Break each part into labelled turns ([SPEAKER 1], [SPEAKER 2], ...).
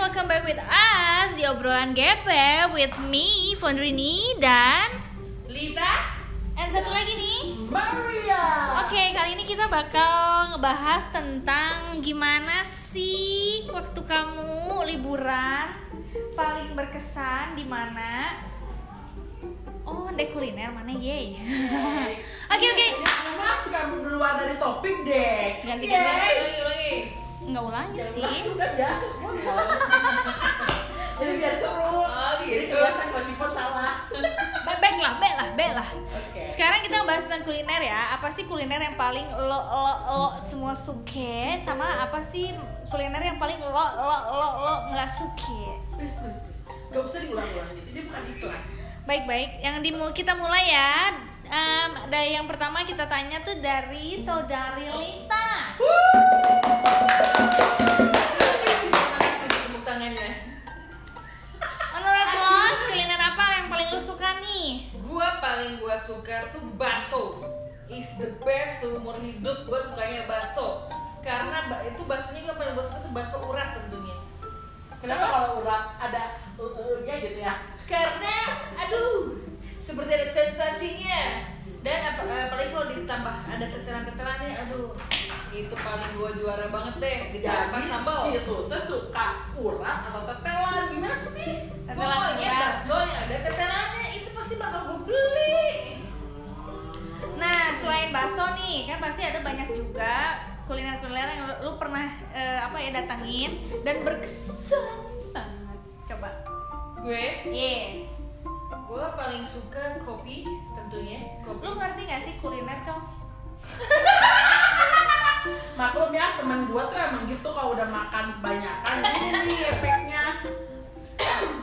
[SPEAKER 1] welcome back with us di obrolan GP with me, Fondrini dan
[SPEAKER 2] Lita
[SPEAKER 1] and satu lagi nih.
[SPEAKER 2] Maria.
[SPEAKER 1] Oke, kali ini kita bakal ngebahas tentang gimana sih waktu kamu liburan paling berkesan di mana? Oh, dek kuliner mana? Yeay. Oke, oke.
[SPEAKER 2] Emang suka keluar dari topik deh.
[SPEAKER 1] Ganti
[SPEAKER 2] Yeay.
[SPEAKER 1] ganti lagi lagi. Enggak ulangi sih.
[SPEAKER 2] Udah, Udah udah. Jadi biar seru.
[SPEAKER 3] Oh, gitu.
[SPEAKER 2] Jadi kelihatan kalau sipon salah.
[SPEAKER 1] Baik baik lah, baik lah, baik lah.
[SPEAKER 2] Oke.
[SPEAKER 1] Sekarang kita bahas tentang kuliner ya. Apa sih kuliner yang paling lo lo lo semua suke sama apa sih kuliner yang paling lo lo lo lo nggak suke?
[SPEAKER 2] Please please please. Gak usah diulang-ulang gitu. Ini bukan iklan.
[SPEAKER 1] Baik-baik, yang di kita mulai ya. Em, dari yang pertama kita tanya tuh dari saudari Lita.
[SPEAKER 3] tepuk ya. tangannya
[SPEAKER 1] Menurut lo kuliner apa yang paling lo suka nih?
[SPEAKER 3] gua paling gua suka tuh baso is the best seumur hidup gua sukanya baso karena ba- itu basonya yang paling gua suka tuh baso urat tentunya
[SPEAKER 2] Kenapa
[SPEAKER 3] Terus?
[SPEAKER 2] kalau urat ada nya gitu ya?
[SPEAKER 3] karena aduh seperti ada sensasinya dan apa, apalagi kalau ditambah ada tetelan-tetelannya aduh itu paling gua juara banget deh ditambah
[SPEAKER 2] Jadi
[SPEAKER 3] sambal
[SPEAKER 2] si Tute suka urat atau tetelan gimana sih?
[SPEAKER 1] Tetelan
[SPEAKER 3] pokoknya
[SPEAKER 1] urat.
[SPEAKER 3] bakso yang ada tetelannya itu pasti bakal gua beli
[SPEAKER 1] Nah, selain bakso nih, kan pasti ada banyak juga kuliner-kuliner yang lu- lu pernah eh, apa ya datangin dan berkesan banget. Coba.
[SPEAKER 3] gue
[SPEAKER 1] Ye.
[SPEAKER 3] gue paling suka kopi tentunya kopi
[SPEAKER 1] Lu ngerti gak sih kuliner, Cong?
[SPEAKER 2] maklum ya temen gue tuh emang gitu kalau udah makan kebanyakan ini nih efeknya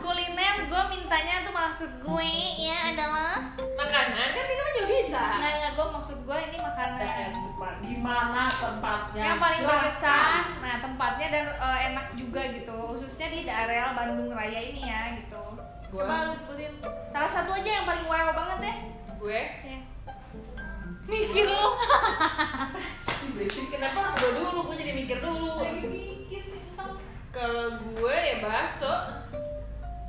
[SPEAKER 1] Kuliner gue mintanya tuh maksud gue ya adalah
[SPEAKER 3] makanan kan minuman juga bisa
[SPEAKER 1] nggak nggak gue maksud gue ini
[SPEAKER 2] Dan
[SPEAKER 1] makanan
[SPEAKER 2] di mana tempatnya
[SPEAKER 1] yang paling
[SPEAKER 2] Jelas, kan?
[SPEAKER 1] berkesan. Nah, tempatnya dan eh, enak juga gitu. Khususnya di daerah Bandung Raya ini ya gitu.
[SPEAKER 3] Gua-
[SPEAKER 1] Coba lu sebutin salah satu aja yang paling wow banget deh.
[SPEAKER 3] gue
[SPEAKER 1] Ya.
[SPEAKER 3] mikir lu
[SPEAKER 2] Ih, berisik.
[SPEAKER 3] kenapa harus gue dulu gue jadi mikir dulu kalau gue ya bakso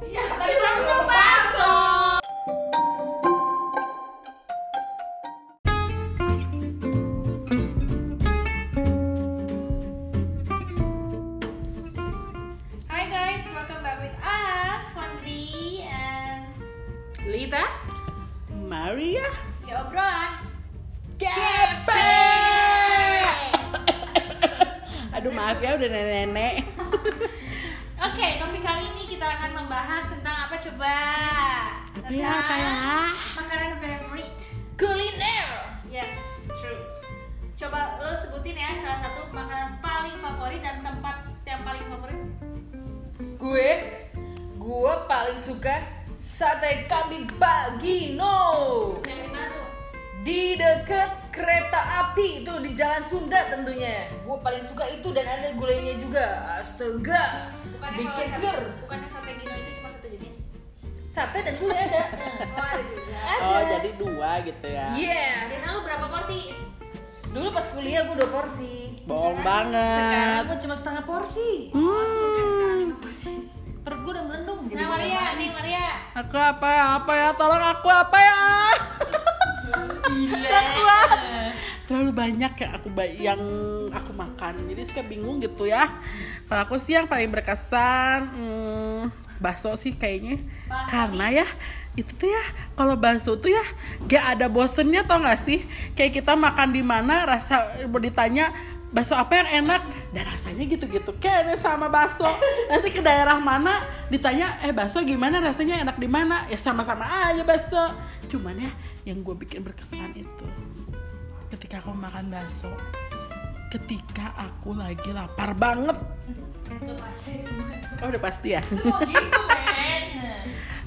[SPEAKER 2] iya tadi
[SPEAKER 1] Kita
[SPEAKER 2] lu
[SPEAKER 1] dulu
[SPEAKER 2] ngomong
[SPEAKER 1] bakso. Hi guys, welcome back with us, Fondri and
[SPEAKER 3] Lita
[SPEAKER 2] Maria
[SPEAKER 1] ya obrolan.
[SPEAKER 2] Jepe aduh maaf ya udah nenek-nenek
[SPEAKER 1] Oke, topik kali ini kita akan membahas tentang apa coba?
[SPEAKER 2] Tapi apa ya?
[SPEAKER 1] Makanan favorite.
[SPEAKER 3] kuliner
[SPEAKER 1] Yes, true. Coba lo sebutin ya salah satu makanan paling favorit dan tempat yang paling favorit.
[SPEAKER 3] gue gue paling suka sate kambing bagino
[SPEAKER 1] Yang di mana tuh?
[SPEAKER 3] di deket kereta api itu di jalan Sunda tentunya gue paling suka itu dan ada gulainya juga astaga bikin
[SPEAKER 1] kalau
[SPEAKER 3] seger
[SPEAKER 1] sate- Bukannya sate gino itu cuma satu jenis.
[SPEAKER 3] sate dan gulai ada
[SPEAKER 1] Oh, ada juga. Nah,
[SPEAKER 3] ada
[SPEAKER 2] oh jadi dua gitu ya
[SPEAKER 1] Iya.
[SPEAKER 3] yeah
[SPEAKER 1] Biasanya lo berapa porsi?
[SPEAKER 3] Iya. dulu pas kuliah gue dua porsi
[SPEAKER 2] bohong banget Hmm.
[SPEAKER 3] sekarang gue cuma setengah porsi
[SPEAKER 1] Oh, suka sekarang lima porsi.
[SPEAKER 3] perut gue udah melendung gitu.
[SPEAKER 1] Nah, Maria, nih Maria.
[SPEAKER 2] aku apa ya apa ya tolong aku apa ya Takut. terlalu banyak yang aku ba- yang aku makan jadi suka bingung gitu ya kalau aku sih yang paling berkesan hmm, bakso sih kayaknya
[SPEAKER 1] Bakso.
[SPEAKER 2] karena ya itu tuh ya kalau bakso tuh ya gak ada bosennya tau gak sih kayak kita makan di mana rasa ditanya bakso apa yang enak dan rasanya gitu-gitu kayaknya sama bakso nanti ke daerah mana ditanya eh bakso gimana rasanya enak di mana ya sama-sama aja bakso cuman ya yang gue bikin berkesan itu ketika aku makan bakso ketika aku lagi lapar banget
[SPEAKER 1] Lo pasti.
[SPEAKER 2] oh udah pasti ya
[SPEAKER 3] semua gitu men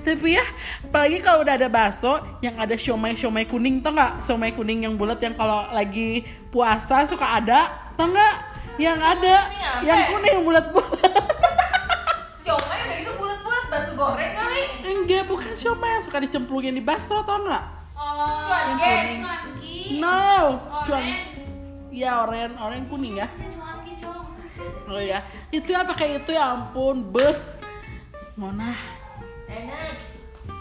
[SPEAKER 2] tapi ya apalagi kalau udah ada bakso yang ada siomay siomay kuning tau nggak siomay kuning yang bulat yang kalau lagi puasa suka ada tau nggak yang ada
[SPEAKER 3] kuning apa?
[SPEAKER 2] yang kuning bulat bulat
[SPEAKER 3] siomay udah gitu bulat-bulat basu goreng kali
[SPEAKER 2] enggak bukan siomay yang suka dicemplungin di bakso tau nggak
[SPEAKER 1] Oh,
[SPEAKER 3] Cuanki.
[SPEAKER 1] Cuanki.
[SPEAKER 2] no
[SPEAKER 1] Orange.
[SPEAKER 2] cuan ya oren oren kuning ya
[SPEAKER 1] Ini Cuanki, Cong.
[SPEAKER 2] Oh ya, itu apa kayak itu ya ampun, beh. Mona.
[SPEAKER 3] Enak.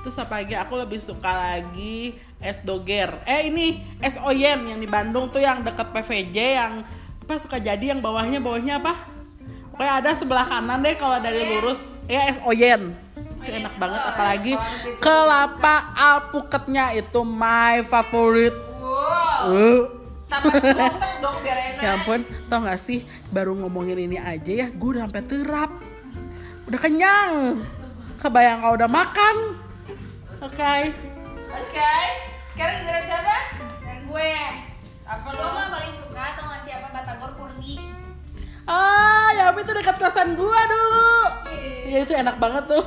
[SPEAKER 2] Terus apa lagi? Aku lebih suka lagi es doger. Eh ini es oyen yang di Bandung tuh yang deket PVJ yang apa suka jadi yang bawahnya bawahnya apa? Pokoknya ada sebelah kanan deh kalau dari lurus. Ya es oyen. Itu enak banget apalagi kelapa alpukatnya itu my favorite.
[SPEAKER 3] Wow.
[SPEAKER 2] Uh.
[SPEAKER 3] Tambah selotek dong biar enak.
[SPEAKER 2] Ya ampun, tau gak sih baru ngomongin ini aja ya, gue udah sampai terap, udah kenyang, kebayang kalau udah makan, oke,
[SPEAKER 3] Oke. Sekarang giliran siapa?
[SPEAKER 1] Dan gue
[SPEAKER 3] Apa
[SPEAKER 1] Gue
[SPEAKER 3] lo?
[SPEAKER 1] mah paling suka tau gak siapa Batagor Kurdi
[SPEAKER 2] ah ya ampun itu dekat kosan gue dulu, ya itu enak banget tuh,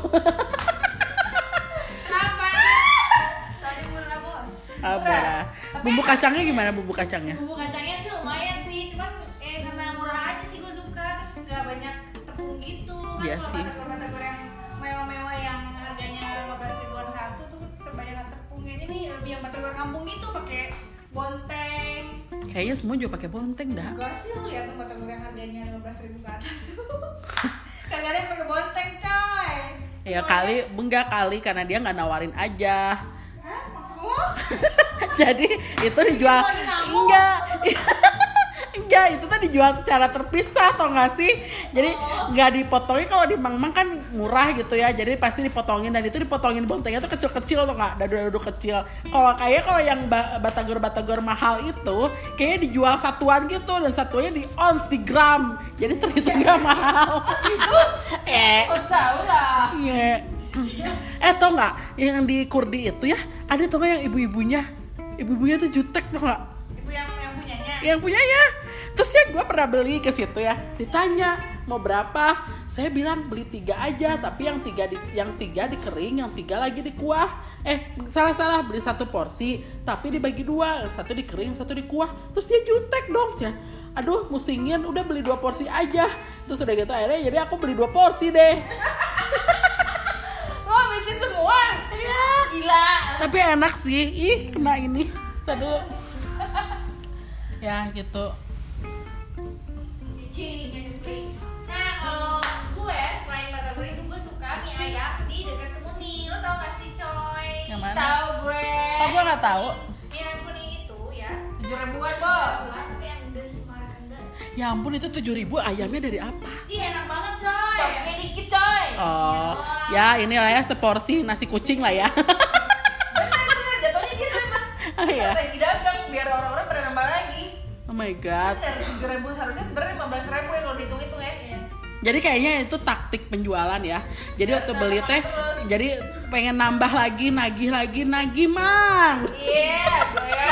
[SPEAKER 1] Kenapa? Soalnya murah bos
[SPEAKER 2] apa,
[SPEAKER 3] Tapi
[SPEAKER 2] bumbu
[SPEAKER 1] kan
[SPEAKER 3] enak.
[SPEAKER 2] kacangnya gimana bumbu kacangnya?
[SPEAKER 1] Bumbu kacangnya sih lumayan sih Cuman eh, karena murah aja sih gue suka Terus gak banyak tepung gitu Kan
[SPEAKER 2] Iya
[SPEAKER 1] kalau
[SPEAKER 2] sih.
[SPEAKER 1] batagor-batagor yang mewah-mewah yang harganya 15 ribuan satu tuh kebanyakan tepung Ini nih lebih yang batagor kampung gitu pakai bonteng
[SPEAKER 2] Kayaknya semua juga pakai bonteng dah.
[SPEAKER 1] Gue sih yang liat tuh batagor yang harganya 15 ribu ke atas tuh Kagak ada yang pakai bonteng coy Iya.
[SPEAKER 2] Ya kali, enggak kali karena dia nggak nawarin aja.
[SPEAKER 1] Hah? Maksud lo?
[SPEAKER 2] Jadi itu
[SPEAKER 1] Itu
[SPEAKER 2] dijual
[SPEAKER 1] lagi kamu.
[SPEAKER 2] enggak. enggak, itu tuh dijual secara terpisah atau enggak sih? Jadi
[SPEAKER 3] Oh.
[SPEAKER 2] enggak dipotongin kalau di Mang Mang kan murah gitu ya. Jadi pasti dipotongin dan itu dipotongin bontengnya tuh kecil-kecil atau enggak? Dadu-dadu kecil. Kalau kayak kalau yang ba- batagor-batagor mahal itu kayaknya dijual satuan gitu dan satuannya di ons, di gram. Jadi terhitung enggak mahal. eh,
[SPEAKER 3] Oh, tahu lah.
[SPEAKER 2] Iya. Eh tau nggak yang di Kurdi itu ya ada tau nggak yang ibu-ibunya ibu-ibunya tuh jutek tau nggak
[SPEAKER 1] Ibu yang yang punyanya
[SPEAKER 2] yang punyanya terus ya gue pernah beli ke situ ya ditanya mau berapa saya bilang beli tiga aja tapi yang tiga di yang tiga dikering yang tiga lagi dikuah eh salah salah beli satu porsi tapi dibagi dua yang satu dikering yang satu dikuah terus dia jutek dong ya aduh musingin udah beli dua porsi aja terus udah gitu akhirnya jadi aku beli dua porsi deh
[SPEAKER 3] Lo habisin semua. Iya. Gila.
[SPEAKER 2] tapi enak sih ih kena ini tadi ya gitu
[SPEAKER 1] Cing, yang kering. Nah kalau gue selain batagor itu gue suka mie ayam di dekat Kemuni. Lo tau gak sih coy?
[SPEAKER 2] yang mana
[SPEAKER 3] Tahu gue.
[SPEAKER 2] kok gue nggak tahu
[SPEAKER 1] Mie ayam kuning itu ya.
[SPEAKER 3] Tujuh ribuan, Bo.
[SPEAKER 1] Buat tapi yang des malah endes.
[SPEAKER 2] ya ampun itu tujuh ribu ayamnya dari apa
[SPEAKER 1] Ih enak banget coy.
[SPEAKER 3] Boxnya dikit, coy.
[SPEAKER 2] oh ya inilah ya seporsi nasi kucing lah ya
[SPEAKER 3] Bener-bener jatuhnya gitu emang.
[SPEAKER 2] Oh, iya.
[SPEAKER 3] Strategi dagang biar orang-orang pada nambah lagi.
[SPEAKER 2] oh my god
[SPEAKER 3] Bener, tujuh ribu harusnya sebenarnya lima belas ribu ya kalau dihitung-hitung ya.
[SPEAKER 1] Yes.
[SPEAKER 2] jadi kayaknya itu taktik penjualan ya jadi waktu beli teh jadi pengen nambah lagi nagih lagi nagih mang
[SPEAKER 3] Iya, gue.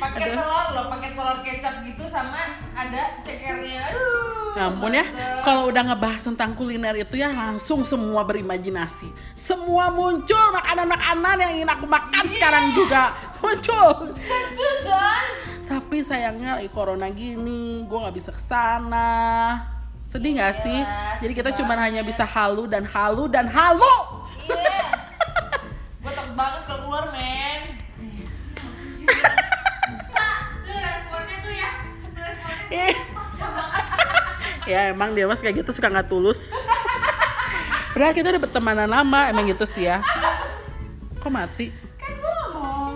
[SPEAKER 3] Pakai telur loh, pakai telur kecap gitu sama ada cekernya. Aduh.
[SPEAKER 2] Ya ampun ya,
[SPEAKER 3] mantep.
[SPEAKER 2] kalau udah ngebahas tentang kuliner itu ya langsung semua berimajinasi. Semua muncul makanan-makanan yang ingin aku makan
[SPEAKER 3] Iya.
[SPEAKER 2] sekarang juga muncul.
[SPEAKER 3] Sejuk, Don.
[SPEAKER 2] Tapi sayangnya lagi corona gini, gue nggak bisa kesana. Sedih nggak
[SPEAKER 3] Iya,
[SPEAKER 2] sih? Jadi kita
[SPEAKER 3] sedih
[SPEAKER 2] cuman
[SPEAKER 3] banget.
[SPEAKER 2] hanya bisa halu dan halu dan halu.
[SPEAKER 3] Iya. Gue tak banget kalau keluar, men.
[SPEAKER 1] Lu responnya tuh ya. Responnya
[SPEAKER 2] Ih. ya emang dia mas kayak gitu suka nggak tulus. Padahal kita udah bertemanan lama, emang gitu sih ya. Kok mati?
[SPEAKER 3] Kan gue ngomong.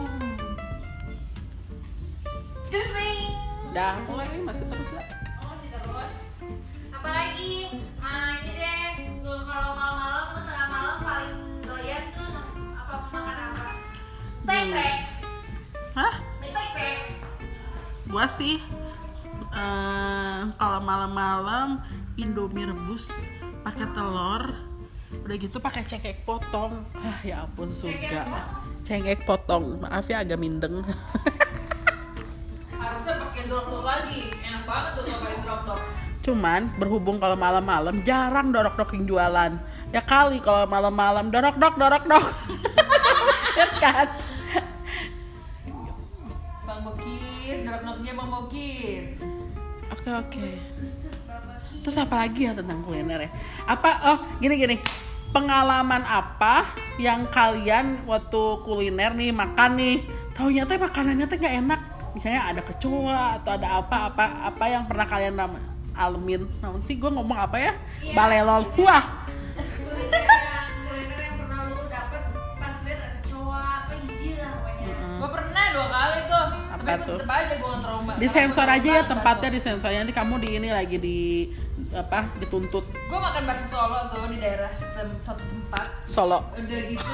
[SPEAKER 3] Jelming.
[SPEAKER 2] Dah, mulai ini masih terus ya.
[SPEAKER 1] Oh, sih terus. Apalagi ah ini deh gua kalau malam-malam gua tengah malam paling doyan tuh apa makan apa? Tek-tek.
[SPEAKER 2] Hah?
[SPEAKER 1] Mie tek-tek.
[SPEAKER 2] Gua sih eh, kalau malam-malam Indomie rebus pakai telur udah gitu pakai cengkek potong ah ya ampun surga cengkek potong maaf ya agak mindeng
[SPEAKER 3] Harusnya pakai dorok-dorok lagi. Enak banget tuh kalau pakai dorok-dorok.
[SPEAKER 2] cuman berhubung kalau malam-malam jarang dorok-dorokin jualan ya kali kalau malam-malam dorok-dorok dorok-dorok ya kan
[SPEAKER 3] Bang Bokir, dorok-doroknya Bang Bokir.
[SPEAKER 2] Oke oke. Terus apa lagi ya tentang kuliner ya? Apa oh gini gini pengalaman apa yang kalian waktu kuliner nih makan nih taunya teh makanannya teh nggak enak misalnya ada kecoa atau ada apa apa apa yang pernah kalian ram- alamin namun sih gue ngomong apa ya
[SPEAKER 1] Iya.
[SPEAKER 2] balelol wah
[SPEAKER 1] kuliner yang kuliner yang pernah lu dapet pas liat ada kecoa apa jijik lah pokoknya
[SPEAKER 3] Gue pernah dua kali tuh, tapi
[SPEAKER 2] Apa
[SPEAKER 3] gue
[SPEAKER 2] tuh?
[SPEAKER 3] tetep aja gue trauma.
[SPEAKER 2] di sensor aja ya tempatnya di sensor nanti kamu di ini lagi di apa dituntut
[SPEAKER 3] Gue makan bakso Solo tuh di daerah sem- suatu tempat.
[SPEAKER 2] Solo
[SPEAKER 3] Udah gitu,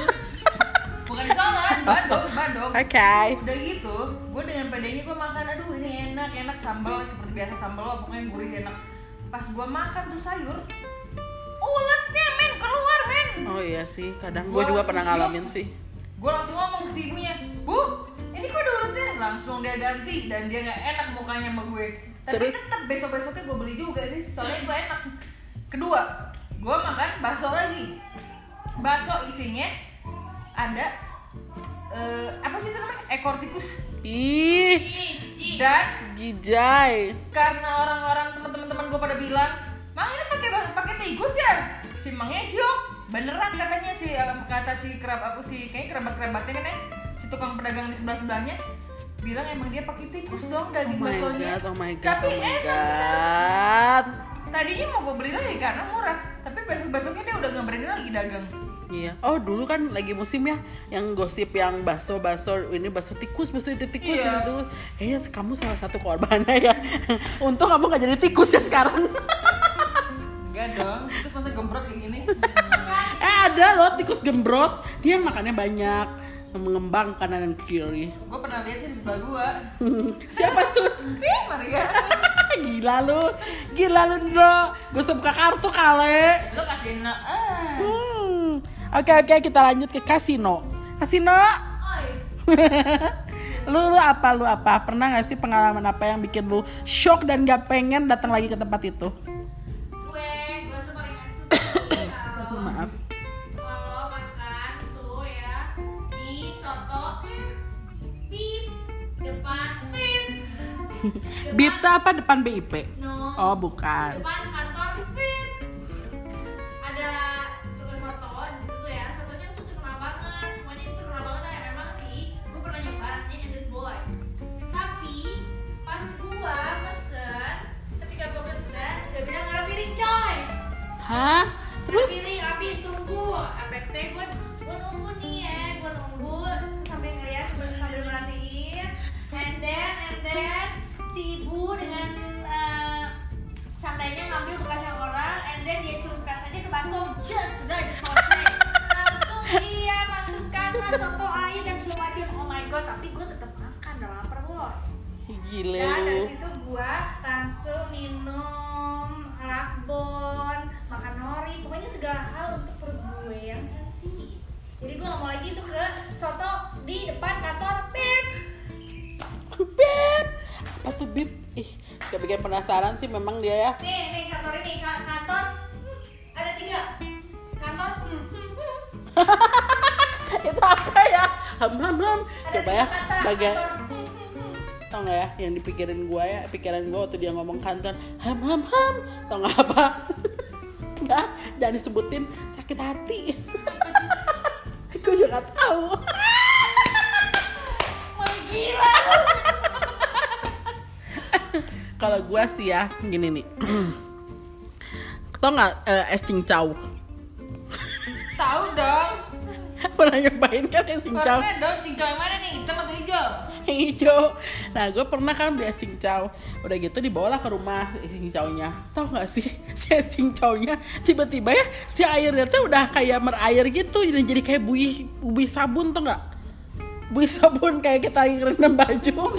[SPEAKER 3] bukan di Solo, di Bandung, di Bandung.
[SPEAKER 2] oke
[SPEAKER 3] Udah gitu, gue dengan pedenya gue makan, aduh ini enak, enak sambal seperti biasa sambal lo pokoknya gurih enak. Pas gue makan tuh sayur, ulatnya men keluar men.
[SPEAKER 2] oh iya sih kadang gue
[SPEAKER 3] Gua
[SPEAKER 2] juga
[SPEAKER 3] langsung
[SPEAKER 2] pernah
[SPEAKER 3] siap.
[SPEAKER 2] ngalamin sih
[SPEAKER 3] Gue langsung ngomong ke si ibunya, bu ini kok ada ulatnya? Langsung dia ganti dan dia nggak enak mukanya sama gue. Tapi
[SPEAKER 2] Terus?
[SPEAKER 3] tetap besok besoknya gue beli juga sih, soalnya itu enak. Kedua, gue makan bakso lagi. Bakso isinya ada eh, apa sih itu namanya? Ekor tikus.
[SPEAKER 2] ih
[SPEAKER 1] Jijik.
[SPEAKER 3] Dan
[SPEAKER 2] gijai
[SPEAKER 3] karena orang-orang teman-teman gue pada bilang mang ini pakai pakai tikus ya si mangnya syok beneran katanya si apa kata si kerab apa si kayak kerabat kerabatnya kan ya si tukang pedagang di sebelah sebelahnya bilang emang dia pakai tikus dong
[SPEAKER 2] oh
[SPEAKER 3] daging
[SPEAKER 2] my
[SPEAKER 3] baksonya
[SPEAKER 2] god oh my god
[SPEAKER 3] tapi
[SPEAKER 2] oh my
[SPEAKER 3] enak
[SPEAKER 2] god
[SPEAKER 3] tadinya mau gue beli lagi karena murah tapi besok besoknya dia udah nggak berani lagi dagang
[SPEAKER 2] Iya. Oh dulu kan lagi musim ya, yang gosip yang baso baso ini baso tikus baso itu tikus
[SPEAKER 3] Iya.
[SPEAKER 2] itu. Kayaknya kamu salah satu korbannya ya. Untung kamu nggak jadi tikus ya sekarang.
[SPEAKER 3] enggak dong tikus masa gembrot kayak gini
[SPEAKER 2] eh ada loh tikus gembrot, dia yang makannya banyak mengembang kanan dan kiri.
[SPEAKER 3] gue pernah lihat sih di sebelah gue
[SPEAKER 2] Siapa tuh?
[SPEAKER 3] Ih, Maria
[SPEAKER 2] Gila lu, gila lu bro. Gue buka kartu kale.
[SPEAKER 3] lo kasihin nak ah.
[SPEAKER 2] Hmm. Oke oke kita lanjut ke kasino. Kasino.
[SPEAKER 1] Oi,
[SPEAKER 2] lu, lu apa lu apa pernah gak sih pengalaman apa yang bikin lu shock dan gak pengen datang lagi ke tempat itu
[SPEAKER 1] gue gue tuh paling gak suka sih kalau
[SPEAKER 2] maaf
[SPEAKER 1] kalau makan tuh ya di soto bip depan bip Depan-
[SPEAKER 2] bip tuh apa depan BIP
[SPEAKER 1] no
[SPEAKER 2] oh bukan
[SPEAKER 1] depan kantor bip ada tukang soto di situ tuh ya sotonya tuh terkenal banget pokoknya itu terkenal banget ya memang sih gue pernah nyoba rasanya English boy tapi pas gua pesen ketika gua pesen dia bilang nggak piring coy
[SPEAKER 2] hah terus
[SPEAKER 1] Akhirnya habis tunggu APT gue gue nunggu nih ya gue nunggu sambil ngeliat sambil sambil merhatiin and then and then si ibu dengan eh, santainya ngambil bekasnya orang and then dia curumkan saja ke bakso just sudah di sore langsung dia masukkanlah soto air dan segala macam oh my god tapi gue tetap makan udah lapar bos
[SPEAKER 2] gile
[SPEAKER 1] dan dari
[SPEAKER 2] lu
[SPEAKER 1] situ gua langsung minum lakbon, makan nori, pokoknya segala hal untuk perut gue yang sensi. Jadi gua nggak mau lagi itu ke soto di depan kantor Pip.
[SPEAKER 2] bip apa tuh bip ih suka bikin penasaran sih memang dia ya
[SPEAKER 1] Nih, nih kantor ini ka- kantor hmm, ada tiga. Kantor hmm, hmm, hmm.
[SPEAKER 2] itu apa ya ham ham ham
[SPEAKER 1] ada
[SPEAKER 2] coba
[SPEAKER 1] tiga
[SPEAKER 2] ya
[SPEAKER 1] kata.
[SPEAKER 2] bagai
[SPEAKER 1] Kantor hmm, hmm, hmm.
[SPEAKER 2] tau gak ya yang dipikirin gua ya pikiran gua waktu dia ngomong kantor ham ham ham tau gak apa Enggak, jangan disebutin sakit hati gue juga gak tahu
[SPEAKER 1] Wah, gila.
[SPEAKER 2] kalau gua sih ya gini nih tau nggak eh, es cincau
[SPEAKER 3] tahu dong
[SPEAKER 2] pernah nyobain kan es cincau
[SPEAKER 3] Warna dong cincau yang mana nih? Hitam atau hijau?
[SPEAKER 2] yang hijau nah gue pernah kan beli es cincau udah gitu dibawalah ke rumah es cincaunya tau gak sih si es cincaunya tiba-tiba ya si airnya tuh udah kayak merair gitu jadi jadi kayak buih buih sabun tuh nggak buih sabun kayak kita lagi rendam baju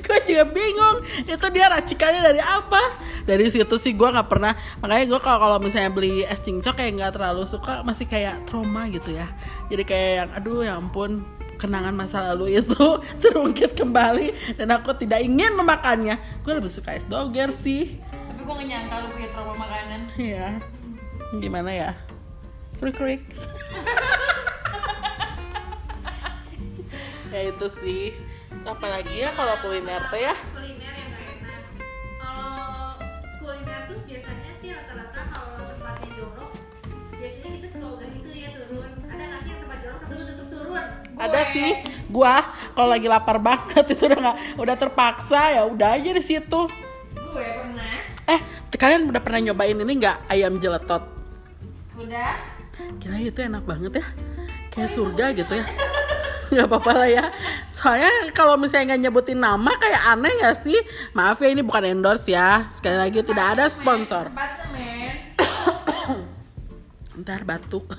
[SPEAKER 2] gue juga bingung itu dia racikannya dari apa dari situ sih gue nggak pernah makanya gue kalau kalau misalnya beli es cincau kayak nggak terlalu suka masih kayak trauma gitu ya jadi kayak yang aduh ya ampun kenangan masa lalu itu terungkit kembali dan aku tidak ingin memakannya gue lebih suka es doger sih
[SPEAKER 3] Tapi gue gak nyangka lu punya trauma makanan
[SPEAKER 2] ya gimana ya krik krik ya itu sih apalagi ya kalau kuliner teh ya
[SPEAKER 1] kuliner yang gak enak kalau kuliner tuh biasanya sih rata-rata kalau tempatnya jorok biasanya kita suka ogah gitu ya turun ada nggak sih yang tempat jorok tapi lu tetep turun
[SPEAKER 2] ada sih gua kalau lagi lapar banget itu udah nggak udah terpaksa ya udah aja di situ
[SPEAKER 3] gue pernah
[SPEAKER 2] Eh, kalian udah pernah nyobain ini nggak ayam jeletot?
[SPEAKER 3] udah
[SPEAKER 2] Gila itu enak banget ya. Kayak surga gitu ya. Nggak apa-apa lah ya. Soalnya kalau misalnya nggak nyebutin nama kayak aneh nggak sih? Maaf ya ini bukan endorse ya. Sekali lagi tidak ada sponsor.
[SPEAKER 3] tempatnya men
[SPEAKER 2] Ntar batuk.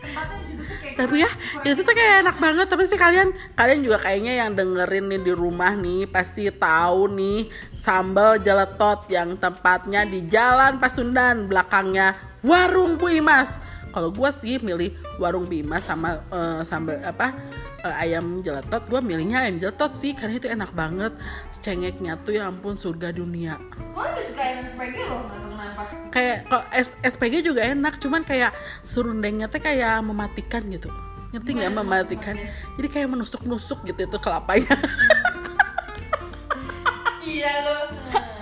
[SPEAKER 3] tempatnya di situ tuh kayak gitu.
[SPEAKER 2] tapi ya itu tuh kayak enak banget tapi sih kalian kalian juga kayaknya yang dengerin nih di rumah nih pasti tahu nih sambal jeletot yang tempatnya di Jalan Pasundan belakangnya warung Bu Imas kalau gue sih milih warung Bu Imas sama eh, sambal apa eh, ayam jeletot gue milihnya ayam jeletot sih karena itu enak banget cengeknya tuh ya ampun surga dunia
[SPEAKER 3] gue lebih suka yang spaghetti loh nggak tahu kenapa
[SPEAKER 2] kayak kok S- SPG juga enak cuman kayak serundengnya teh kayak mematikan gitu ngerti nggak mematikan jadi kayak menusuk nusuk gitu itu kelapanya
[SPEAKER 3] gila Nah, lo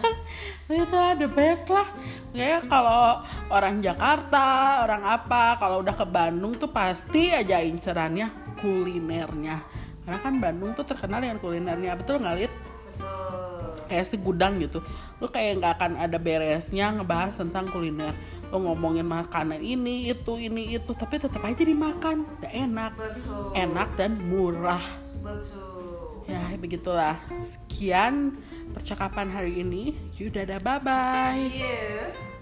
[SPEAKER 2] itu lah the best lah ya kalau orang Jakarta orang apa kalau udah ke Bandung tuh pasti aja incerannya kulinernya karena kan Bandung tuh terkenal dengan kulinernya betul nggak Lid?
[SPEAKER 3] betul
[SPEAKER 2] kayak segudang gitu lu kayak nggak akan ada beresnya ngebahas tentang kuliner lu ngomongin makanan ini itu ini itu tapi tetap aja dimakan udah enak
[SPEAKER 3] betul
[SPEAKER 2] enak dan murah
[SPEAKER 3] betul
[SPEAKER 2] ya begitulah sekian percakapan hari ini yaudah dah bye bye
[SPEAKER 3] yeah